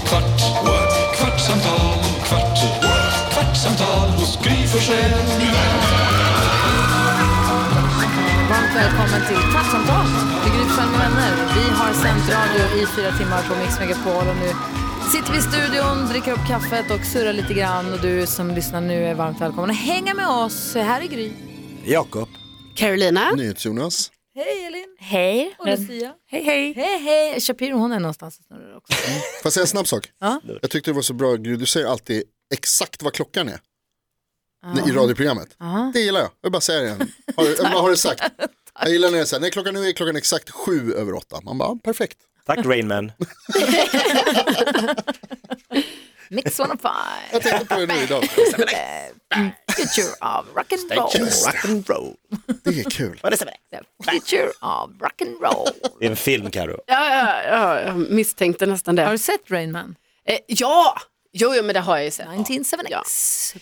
kvart, what? kvartsamtal, kvart, what? kvartsamtal hos Gry Forssell med vänner. Varmt välkommen till Kvartsamtal med Gry Forssell med vänner. Vi har sänt radio i fyra timmar på Mix Megapol och nu sitter vi i studion, dricker upp kaffet och surrar lite grann. Och du som lyssnar nu är varmt välkommen att hänga med oss. Här är Gry. Jakob. Carolina. NyhetsJonas. Hej Elin. Hej. Och Lucia. Hej, hej. Hej hej. Shapiro hon är någonstans och snurrar också. Får jag säga en snabb sak? Ja. Jag tyckte det var så bra, Gry, du säger alltid exakt vad klockan är. Nej, I radioprogrammet. Det gillar jag, jag vill bara säga det igen. Har, du- vad har du sagt? Jag gillar när jag säger, nej klockan nu är klockan exakt sju över åtta. Man bara, ja, perfekt. Tack Rainman. Mix one of five. Jag tänkte på det nu idag. Future of rock'n'roll. Rock'n'roll. Det är kul. Future of rock'n'roll. Det är en film Karo. Ja, ja, ja, jag misstänkte nästan det. Har du sett Rain Man? Eh, ja, jo, jo, men det har jag ju sett. 1976.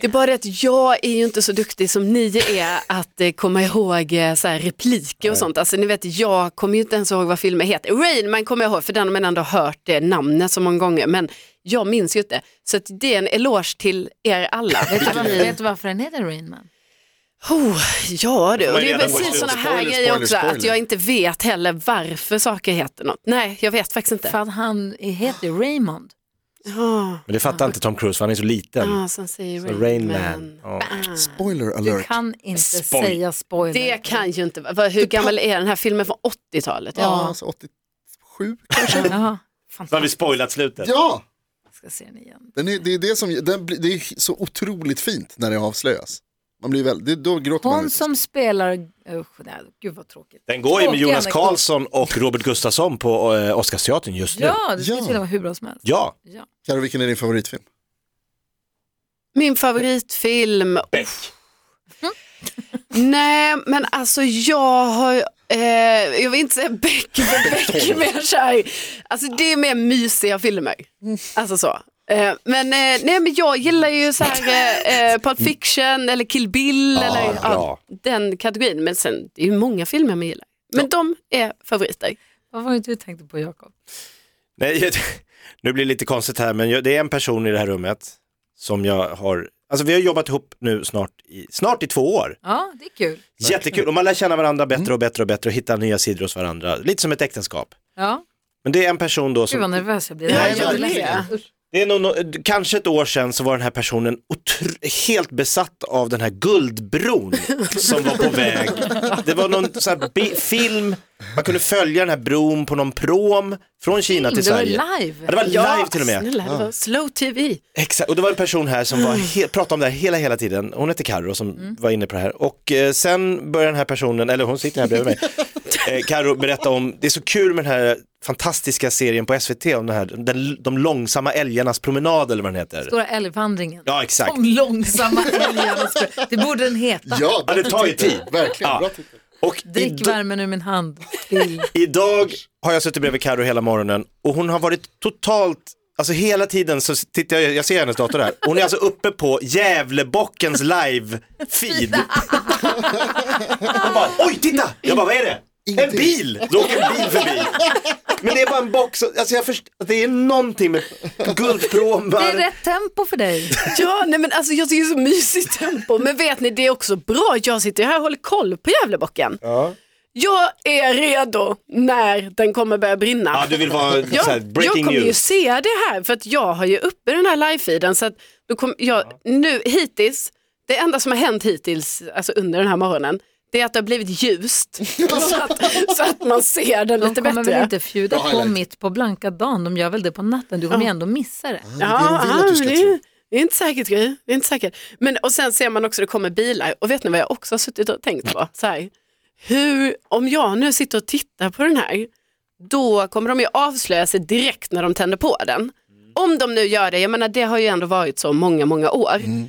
Det är bara det att jag är ju inte så duktig som ni är att eh, komma ihåg eh, så här, repliker och sånt. Alltså ni vet, jag kommer ju inte ens ihåg vad filmen heter. Rain Man kommer jag ihåg, för den har man ändå hört eh, namnet så många gånger. Men jag minns ju inte. Så att det är en eloge till er alla. Vet, du varför, vet du varför den heter Rain Man? Oh, ja du, man och det ju reda är på i precis slutet. sådana här Spoiler, grejer spoiler, också, att spoiler. jag inte vet heller varför saker heter något. Nej, jag vet faktiskt inte. För att han heter Raymond. Ja, Men det fattar inte Tom Cruise för han är så liten. ah, som säger Så Rain, Rain Man. Man. Ja. Spoiler Du alert. kan inte Spoil- säga spoiler. Det kan ju inte vara, vad- hur gammal är den här filmen från 80-talet? Ja, alltså 87 kanske. Jaha, Så har vi spoilat slutet. Ja, jag ska se den igen. den är, det är det som, den, blir- det är så otroligt fint när det avslöjas. Man blir väl, det, då gråter man Hon lite. som spelar, usch, nej, gud vad tråkigt. Den går ju med Tråkig Jonas anekdot. Karlsson och Robert Gustafsson på eh, Oscarsteatern just nu. Ja, det skulle Ja. till och vara hur bra som helst. Ja, Ja. Karo, vilken är din favoritfilm? Min favoritfilm, Beck. nej men alltså jag har, eh, jag vill inte säga Beck, för Beck är mer kär. Alltså det är mer mysiga filmer. Mm. Alltså så. Eh, Men, eh, nej, men jag gillar ju så här, eh, eh, Pulp Fiction eller Kill Bill eller ja, Mm. bra. den kategorin. Men sen, det är ju många filmer man gillar. Men de är favoriter. Vad var det du tänkte på Jakob? Nej, jag- nu blir det lite konstigt här, men jag, det är en person i det här rummet som jag har, alltså vi har jobbat ihop nu snart i, snart i två år. Ja, det är kul. Jättekul, och man lär känna varandra bättre Mm. och bättre och bättre och hitta nya sidor hos varandra, lite som ett äktenskap. Ja. Men det är en person då Gud vad som, nervös jag blir. Ja, Nej, jag blir blir ledsen. Usch. det är nog, nå- kanske ett år sedan så var den här personen otr- helt besatt av den här guldbron som var på väg. Det var någon så här bi- film, man kunde följa den här bron på någon prom från Kina till Det var Sverige. Ja, det live. var live till och med. Snälla, det var slow tv. Exakt, och det var en person här som var he- pratade om det här hela, hela tiden. Hon hette Karo som Mm. var inne på det här. Och eh, sen började den här personen, eller hon sitter här bredvid mig, eh, Karo berätta om, det är så kul med den här fantastiska serien på SVT om den här, den, de långsamma älgarnas promenad eller vad den heter. Stora älgvandringen. Ja, exakt. Om långsamma älgarna. skulle- Det borde den heta. Ja, Ja, det tar ju titel. tid. Verkligen, Ja. bra titel. Och i, Drick värmen ur min hand. Bill. idag har jag suttit bredvid Karo hela morgonen och hon har varit totalt Alltså hela tiden så tittar jag, jag ser hennes dator där, hon är alltså uppe på Gävlebockens live-feed. Hon bara, oj titta! Jag bara, vad är det? En Ingenting. bil! Då åker en bil förbi. Men det är bara en box, alltså jag först, det är någonting med Det är guldpromar. rätt tempo för dig. Ja, nej men alltså jag tycker det är så mysigt tempo. Men vet ni, det är också bra. Jag sitter ju här och håller koll på Gävlebocken. Jag är redo när den kommer börja brinna. Ja du vill vara jag, såhär, jag breaking kommer ju news. se det här för att jag har ju uppe den här live-feeden. Så att då kom, jag, nu, hittills, det enda som har hänt hittills alltså under den här morgonen det är att det har blivit ljust så, att, så att man ser den De lite kommer bättre. väl inte fjuda Bra på highlight. mitt på blanka dagen. De gör väl det på natten. Du kommer ju ändå missa det. Det är det de vill att du ska det, tro. är- det är inte säkert Gry, det är inte säkert. Men, och sen ser man också det kommer bilar och vet ni vad jag också har suttit och tänkt på? Så här, hur, om jag nu sitter och tittar på den här, då kommer de ju avslöja sig direkt när de tänder på den. Om de nu gör det, jag menar det har ju ändå varit så många, många år. Mm.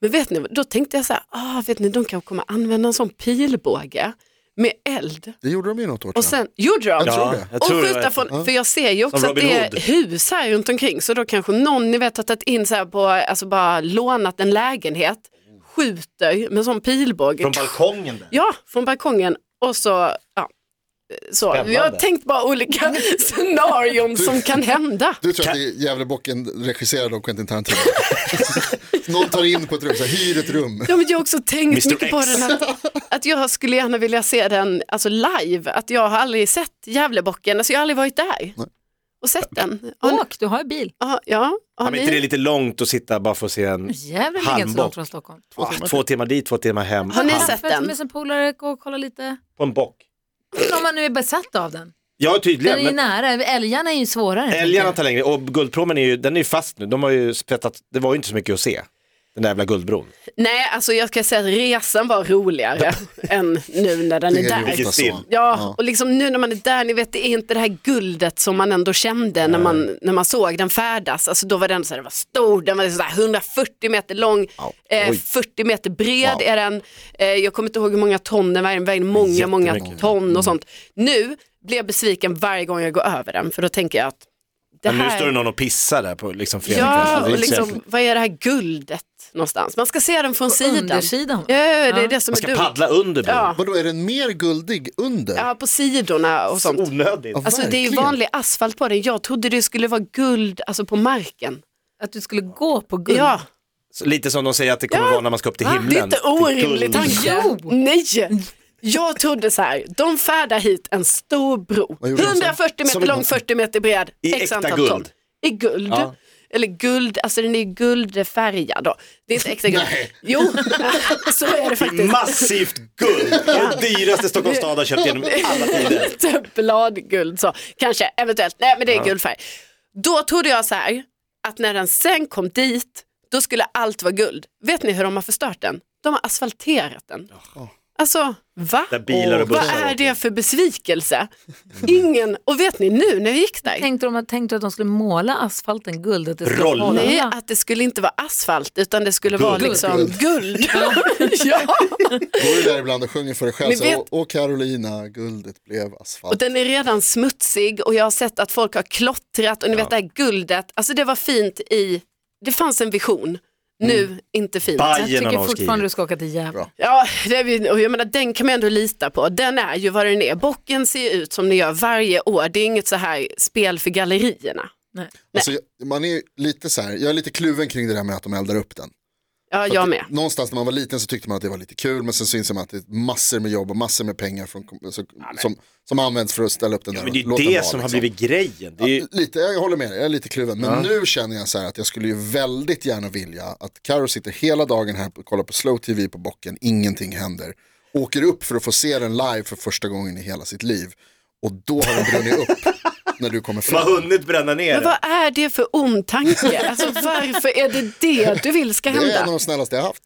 Men vet ni, då tänkte jag så här, ah, vet ni, de kanske kommer använda en sån pilbåge med eld. Det gjorde de ju något år Och sedan. sen, gjorde de? Jag tror det. jag tror Och det var- skjuta från, för jag ser ju också Som att det Robin är Hood. hus här runt omkring så då kanske någon ni vet har tagit in så här på, alltså bara lånat en lägenhet, skjuter med sån pilbåge. Från balkongen där. Ja, från balkongen och så, ja. Så, Spännande. vi har tänkt bara olika scenarion som kan hända. Du tror att det är Gävlebocken regisserad av Quentin Tarantino. Någon tar in på ett rum, så här, hyr ett rum. Ja, men jag har också tänkt Mr. mycket på X. den här, att jag skulle gärna vilja se den alltså live, att jag har aldrig sett Gävlebocken, alltså jag har aldrig varit där och sett den. Har ni- Åk, du har ju bil. Ja, ja, har Men inte det är ni, lite långt att sitta bara för att se en, Jävlar ligger inte så Halmbock. långt från Stockholm. ah, två timmar dit, två timmar hem, har ni Ah, sett För att ta den? med sin polare gå och kolla lite. på en bock. Om man nu är besatt av den. Ja Den är ju tydligen, men nära, älgarna är ju svårare. älgarna tar längre och guldpromen är ju, den är ju fast nu, de har ju spettat, det var ju inte så mycket att se. Den där jävla guldbron. Nej, alltså jag ska säga att resan var roligare än nu när den är Det är ju där. ofta så. film. Ja, och liksom nu när man är där, ni vet det är inte det här guldet som man ändå kände när man, när man såg den färdas. Alltså då var den så här, den var stor, den var så här 140 meter lång, eh, 40 meter bred är den. Eh, jag kommer inte ihåg hur många ton den vägde, den vägde många, många Jättemycket. Mm. ton och sånt. Nu blir jag besviken varje gång jag går över den, för då tänker jag att det Men nu står det här, någon och pissar där på liksom ja, Det är och inte så liksom, jäkla- vad är det här guldet någonstans? Man ska se den från sidan. Undersidan. Ja, ja, ja, det är det som Man är ska dumt. paddla under bron. Ja. Vadå, är den mer guldig under? Ja, på sidorna och sånt. Onödigt. Ja, Alltså det är ju verkligen. vanlig asfalt på den. Jag trodde det skulle vara guld alltså på marken. Att du skulle gå på guld. Ja, Så Lite som de säger att det kommer vara när man ska upp till himlen. Ah, det är inte orimligt Guld. tanke. Jo. Nej, jag trodde så här, de färdar hit en stor bro. Vad gjorde de sen? 140 meter Som- lång, 40 meter bred. I X äkta antal guld. ton. I guld. Ja. Eller guld, alltså den är guldfärgad då. Det är inte äkta guld. Nej. Jo, så är det Det är faktiskt. Massivt guld! Det dyraste Stockholms stad har köpt genom alla tider. Lite Typ bladguld så, kanske, eventuellt, nej men det är guldfärg. Då trodde jag så här, att när den sen kom dit, då skulle allt vara guld. Vet ni hur de har förstört den? De har asfalterat den. Alltså, va? Där bilar och Vad bussar åker. är det för besvikelse? Ingen, och vet ni nu när vi gick där? Tänkte de tänkte att de skulle måla asfalten guld? Att det skulle Rolla. hålla. Nej, att det skulle inte vara asfalt utan det skulle vara Guld. liksom Guld. guld. ja. Går du där ibland och sjunger för dig själv? Ni Så, här, vet- och Carolina, guldet blev asfalt. Och den är redan smutsig och jag har sett att folk har klottrat och ni vet det här guldet, alltså det var fint i, det fanns en vision, nu Mm. inte fint. Baj. Jag Hajen har tycker någon fortfarande skrivit. du ska åka till Gävle. Ja, det är, vi- och jag menar, den kan man ändå lita på, den är ju vad den är. Bocken ser ju ut som den gör varje år, det är inget så här spel för gallerierna. Alltså, jag- man är ju lite så här, jag är lite kluven kring det där med att de eldar upp den. Ja, För jag att med. Någonstans när man var liten så tyckte man att det var lite kul men sen så inser man att det är massor med jobb och massor med pengar från, kom- så, som, som används för att ställa upp den där. Men det är och låta ju den det vara, som har liksom. blivit grejen. Det är ju... Lite, jag håller med dig, jag är lite kluven. Men nu känner jag så här att jag skulle ju väldigt gärna vilja att Karo sitter hela dagen här och kollar på slow tv på bocken, ingenting händer. Åker upp för att få se den live för första gången i hela sitt liv. Och då har den brunnit upp när du kommer De har fram. hunnit bränna ner Men det. vad är det för ond tanke? Alltså varför är det det du vill ska Det är en av hända? de snällaste jag haft.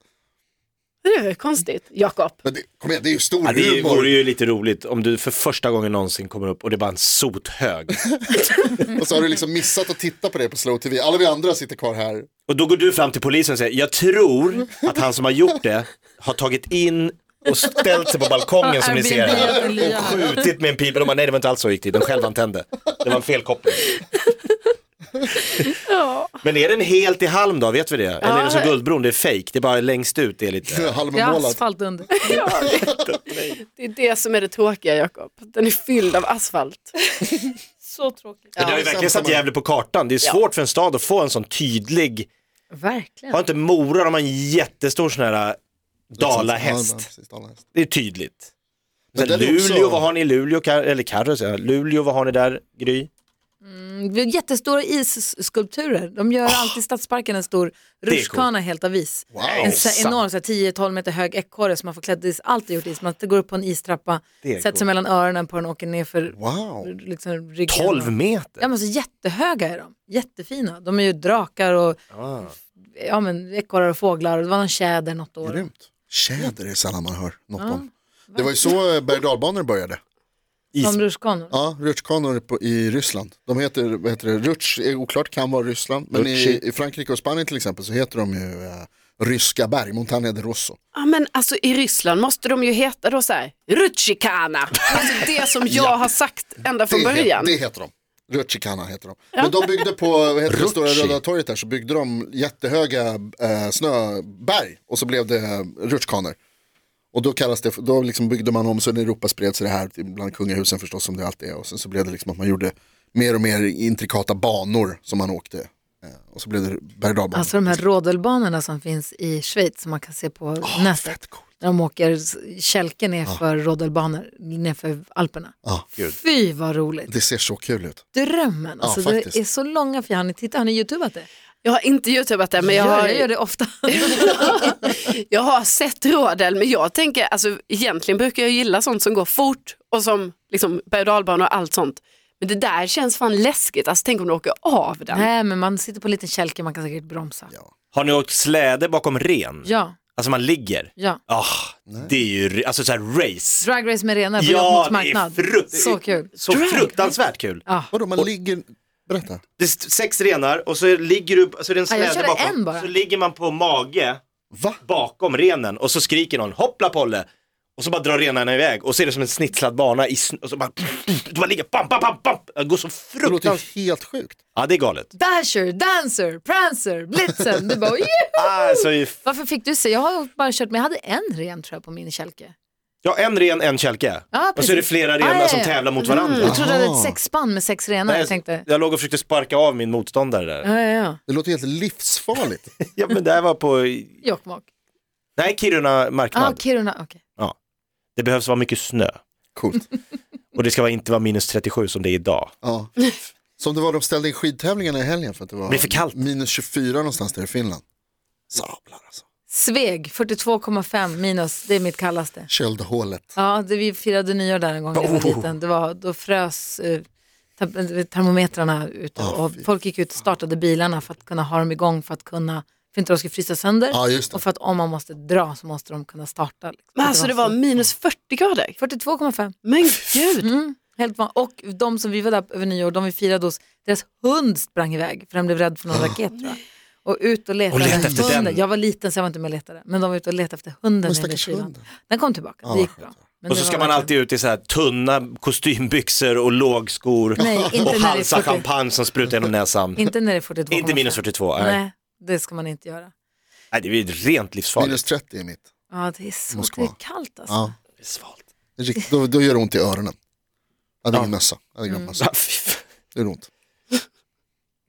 Det är konstigt, Jakob. Men det, kom igen, det är ju stor Ja, det humor. vore ju lite roligt om du för första gången någonsin kommer upp och det är bara en sothög. Och så har du liksom missat att titta på det på slow tv. Alla vi andra sitter kvar här. Och då går du fram till polisen och säger, jag tror att han som har gjort det har tagit in och ställt sig på balkongen som ni ser här. Airbnb. Och skjutit med en pipa. De bara, nej det var inte alls så det gick till, den själv antände. Det var en felkoppling. Men är den helt i halm då, vet vi det? Eller är det som Guldbron, det är fake, det är bara längst ut det är lite. Det är Halmmålat. asfalt under. Det är det som är det tråkiga Jakob, den är fylld av asfalt. Så tråkigt. Men det har ju verkligen satt Gävle på kartan. Det är svårt för en stad att få en sån tydlig, Verkligen. har inte Mora, de har en jättestor sån här äh, Ja, dalahäst. precis, dalahäst. Det är tydligt. Men Sen den är också- Luleå, vad har ni i Luleå? Kar- Eller Carro, säger jag. Luleå, vad har ni där? Gry? Det är Jättestora isskulpturer. De gör alltid i Stadsparken en stor Ah. är rutschkana helt av is. Wow. En så här enorm så här 10-12 meter hög ekorre som man får klädd i is. Allt är gjort i is. Man går upp på en istrappa, Det är sätter sig coolt. mellan öronen på den och åker ner för Wow. liksom, ryggen. 12 Ja, meter? men så jättehöga är de. Jättefina. De är ju drakar och Ah. ja, men, ekorrar och fåglar. Och det var någon tjäder något år. Grymt. Tjäder är sällan man hör något Ja, om. Det var ju så eh, berg och dalbanor började. Is. Som rutschkanor. Ja, rutschkanor på- i Ryssland. De heter, vad heter det, rutsch är oklart, kan vara Ryssland. Men i, Rutschi. i Frankrike och Spanien till exempel så heter de ju eh, ryska berg, Montaña de Rosso. Ja men alltså i Ryssland måste de ju heta då så här, rutschikana. Alltså det som jag har sagt ända från det, he- början. det heter de. Rutschikana heter de. Men de byggde på vad heter det, Stora Rutschi. Röda torget där så byggde de jättehöga eh, snöberg och så blev det eh, rutschkanor. Och då, kallas det, då liksom byggde man om så när Europa spred sig det här till- bland kungahusen förstås som det alltid är. Och sen så blev det liksom att man gjorde mer och mer intrikata banor som man åkte. Eh, och så blev det berg och Alltså de här rodelbanorna som finns i Schweiz som man kan se på Ah, nätet. När de åker s- kälke nerför rodelbanor nerför Alperna. Ja. Fy vad roligt. Ah, Det ser så kul ut. Drömmen. Ja, Alltså, faktiskt. det är så långa fjärr. Har ni tittat? Har ni youtubat det? Jag har inte youtubat det men jag Jag, har, jag gör det ofta. jag har sett rådel. Men jag tänker, alltså egentligen brukar jag gilla sånt som går fort och som liksom berg och dalbana och allt sånt. Men det där känns fan läskigt, alltså tänk om du åker av den. Nej men man sitter på en liten kälke, man kan säkert bromsa. Ja, Har ni åkt släde bakom ren? ja. Alltså man ligger. Ah, det är ju, re- alltså så här race. Drag race med renar på Ja, Jokkmokks det är marknad. frukt- Så kul. Så fruktansvärt kul. Ja. Vadå, man ligger... Berätta. Det är st- sex renar och så ligger du, så är det en Ja, jag släde körde bakom. en bara. Så ligger man på mage Va? bakom renen och så skriker någon hoppla Polle. Och så bara drar renarna iväg och så är det som en snitslad bana i sn- och så bara, du bara ligger, pam, pam, pam, pam. Det går så Det låter fruktansvärt. ju helt sjukt. Ja det är galet. Dasher, Dancer, Prancer, Blitzen. Det bara, yeah! Alltså, Varför fick du se? Jag har bara kört, men jag hade en ren tror jag på min kälke. ja en ren, en kälke. Ja, och så är det precis. flera Ja, renar ja, som ja. tävlar mot varandra. Jag trodde jag hade Aha. ett sexspann med sex renar. Nej, jag tänkte, jag låg och försökte sparka av min motståndare där. ja, ja, ja. Det låter helt livsfarligt. Ja men det här var på, Jokkmokk. nej Kiruna marknad. Ah, Kiruna, okej. Det behövs vara mycket snö. Coolt. Och det ska vara- inte vara minus 37 som det är idag. Ja. Som det var, de ställde in skidtävlingarna i helgen för att det var Det är för kallt. minus 24 någonstans där i Finland. Sablar alltså. Sveg, 42,5 minus, det är mitt kallaste. Köldhålet. Ja, det, vi firade nyår där en gång när jag Oh. var liten. Det var, då frös eh, te- termometrarna ut och folk gick ut och startade bilarna för att kunna ha dem igång för att kunna för inte de skulle frysa sönder Ja, just det. och för att om man måste dra så måste de kunna starta. liksom. Men alltså det var minus 40 grader. 42,5. Men gud. Mm, helt van. Och de som vi var där över nyår, de vi firade hos, deras hund sprang iväg för den blev rädd för någon raket tror jag. Och ut och letade Ah. Och leta efter hunden. den. Jag var liten så jag var inte med och letade. Men de var ute och letade efter hunden. i den där stackars kylan. hunden. Den kom tillbaka, det gick bra. Men Ah, Och så det ska var man verkligen- alltid ut i så här tunna kostymbyxor och lågskor Nej, inte när och det är halsa 40. champagne som sprutar genom näsan. Inte när det är 42. Inte minus 42, nej. Nej, det ska man inte göra. Nej, det är ju rent Minus livsfarligt. 30 är mitt. Ja, det är så Moskva. det är kallt alltså. Ja. Svalt. Rikt- Då, då gör det ont i öronen. Jag hade ingen mössa. Jag hade glömt mössa. Ja, fy fan. Det gör ont.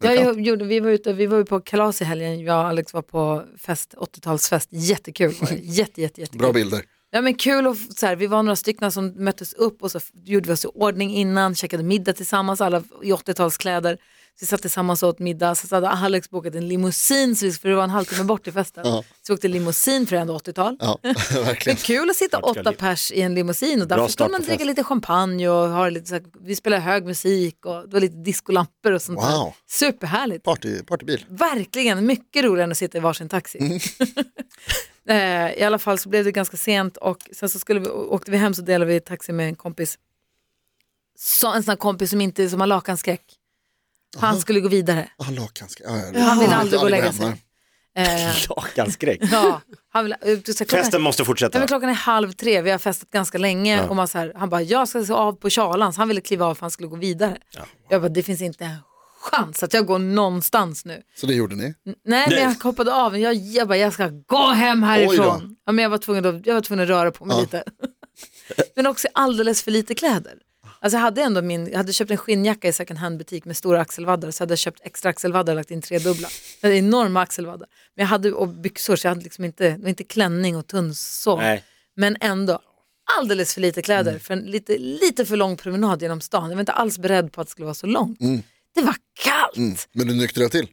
Jag jag gjorde, vi, var ute, vi var ju på kalas i helgen, jag och Alex var på fest, 80-talsfest, jättekul. var det. Jätte, jätte, jättekul. Bra bilder. Ja men kul och f- så här, vi var några stycken som möttes upp och så f- gjorde vi oss i ordning innan, käkade middag tillsammans, alla i 80-talskläder. Så vi satt tillsammans och åt middag, så hade Alex bokat en limousin, så vi, för det var en halvtimme bort till festen. Ja. Så vi åkte limousin för det är ändå 80-tal. Ja, Det är verkligen. kul att sitta åtta liv. pers i en limousin och Bra därför start kan man på dricka fest. lite champagne och ha lite, så här, vi spelar hög musik och det var lite discolampor och sånt där. Wow. Superhärligt. Party, partybil. Verkligen, mycket roligare än att sitta i varsin taxi. Eh, I alla fall så blev det ganska sent och sen så skulle vi, åkte vi hem så delade vi taxi med en kompis. Så, en sån här kompis som inte som har lakanskräck. Han skulle gå vidare. Ah, lakanska. Ah, Han vill aldrig gå och lägga sig. Eh, Lakanskräck. ja, han vill, eh, så klockan- Festen måste Ja, men fortsätta. klockan är halv tre, vi har festat ganska länge och man så här, han bara, jag ska se av på Charlans, han ville kliva av för han skulle gå vidare. Jag bara, det finns inte en chans att jag går någonstans nu. Så det gjorde ni? Nej, men Nej. jag hoppade av, jag, jag bara, jag ska gå hem Oj härifrån. Ja, men jag, var tvungen att, jag var tvungen att röra på mig Ja. lite. men också alldeles för lite kläder. Alltså jag hade ändå min, jag hade köpt en skinnjacka i second hand butik med stora axelvaddar så hade jag köpt extra axelvaddar och lagt in tre dubbla. Jag hade enorma axelvaddar. Men jag hade och byxor så jag hade liksom inte, det var inte klänning och tunnsåg. Nej. Men ändå, alldeles för lite kläder för en lite, lite för lång promenad genom stan. Jag var inte alls beredd på att det skulle vara så långt. Det var kallt. Mm. Men du nyktrade till?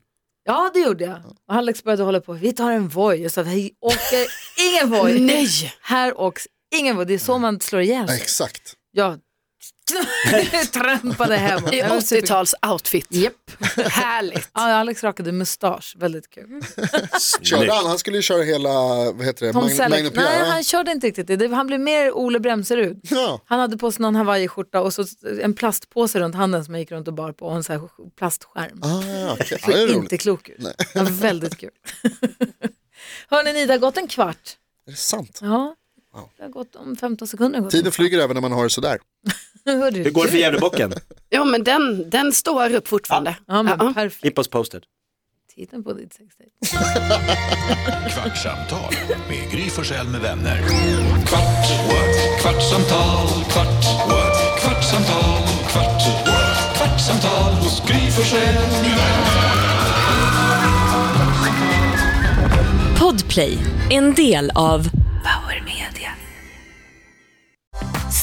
Ja, det gjorde jag. Och Alex började hålla på, vi tar en Voi. Jag sa, vi åker ingen Voi. Nej! Här åks ingen Voi. Det är så man slår ihjäl Ja, sig. exakt. Jag trampade hemåt. I Det var superkul. 80-tals-outfit. Japp. Härligt. Ja, Alex rakade mustasch, väldigt kul. Körde han? Han skulle ju köra hela, vad heter det, Tom Magn- Magno Selleck, Pierre. nej va? han körde inte riktigt det. det. Han blev mer Ole Bremserud. Ja. Han hade på sig någon hawaiiskjorta och så en plastpåse runt handen som han gick runt och bar på och en så här plastskärm. Ah, ja, okej. Det ja, det är är roligt. inte klok ut. Ja, väldigt kul. Hörni ni, det har gått en kvart. Är det sant? Ja, det har gått om 15 sekunder. har gått. Tiden flyger även när man har det sådär. Hörde du? Hur går det för Gävlebocken? Ja, men den, den står upp fortfarande. Ja, men Ja. perfekt. Keep us posted. Titeln på ditt sextape. Kvartsamtal med Gry Forssell med vänner. Kvart, what? kvartsamtal, kvart, what? kvartsamtal, kvart, what? kvartsamtal hos Gry Forssell med vänner. Podplay, en del av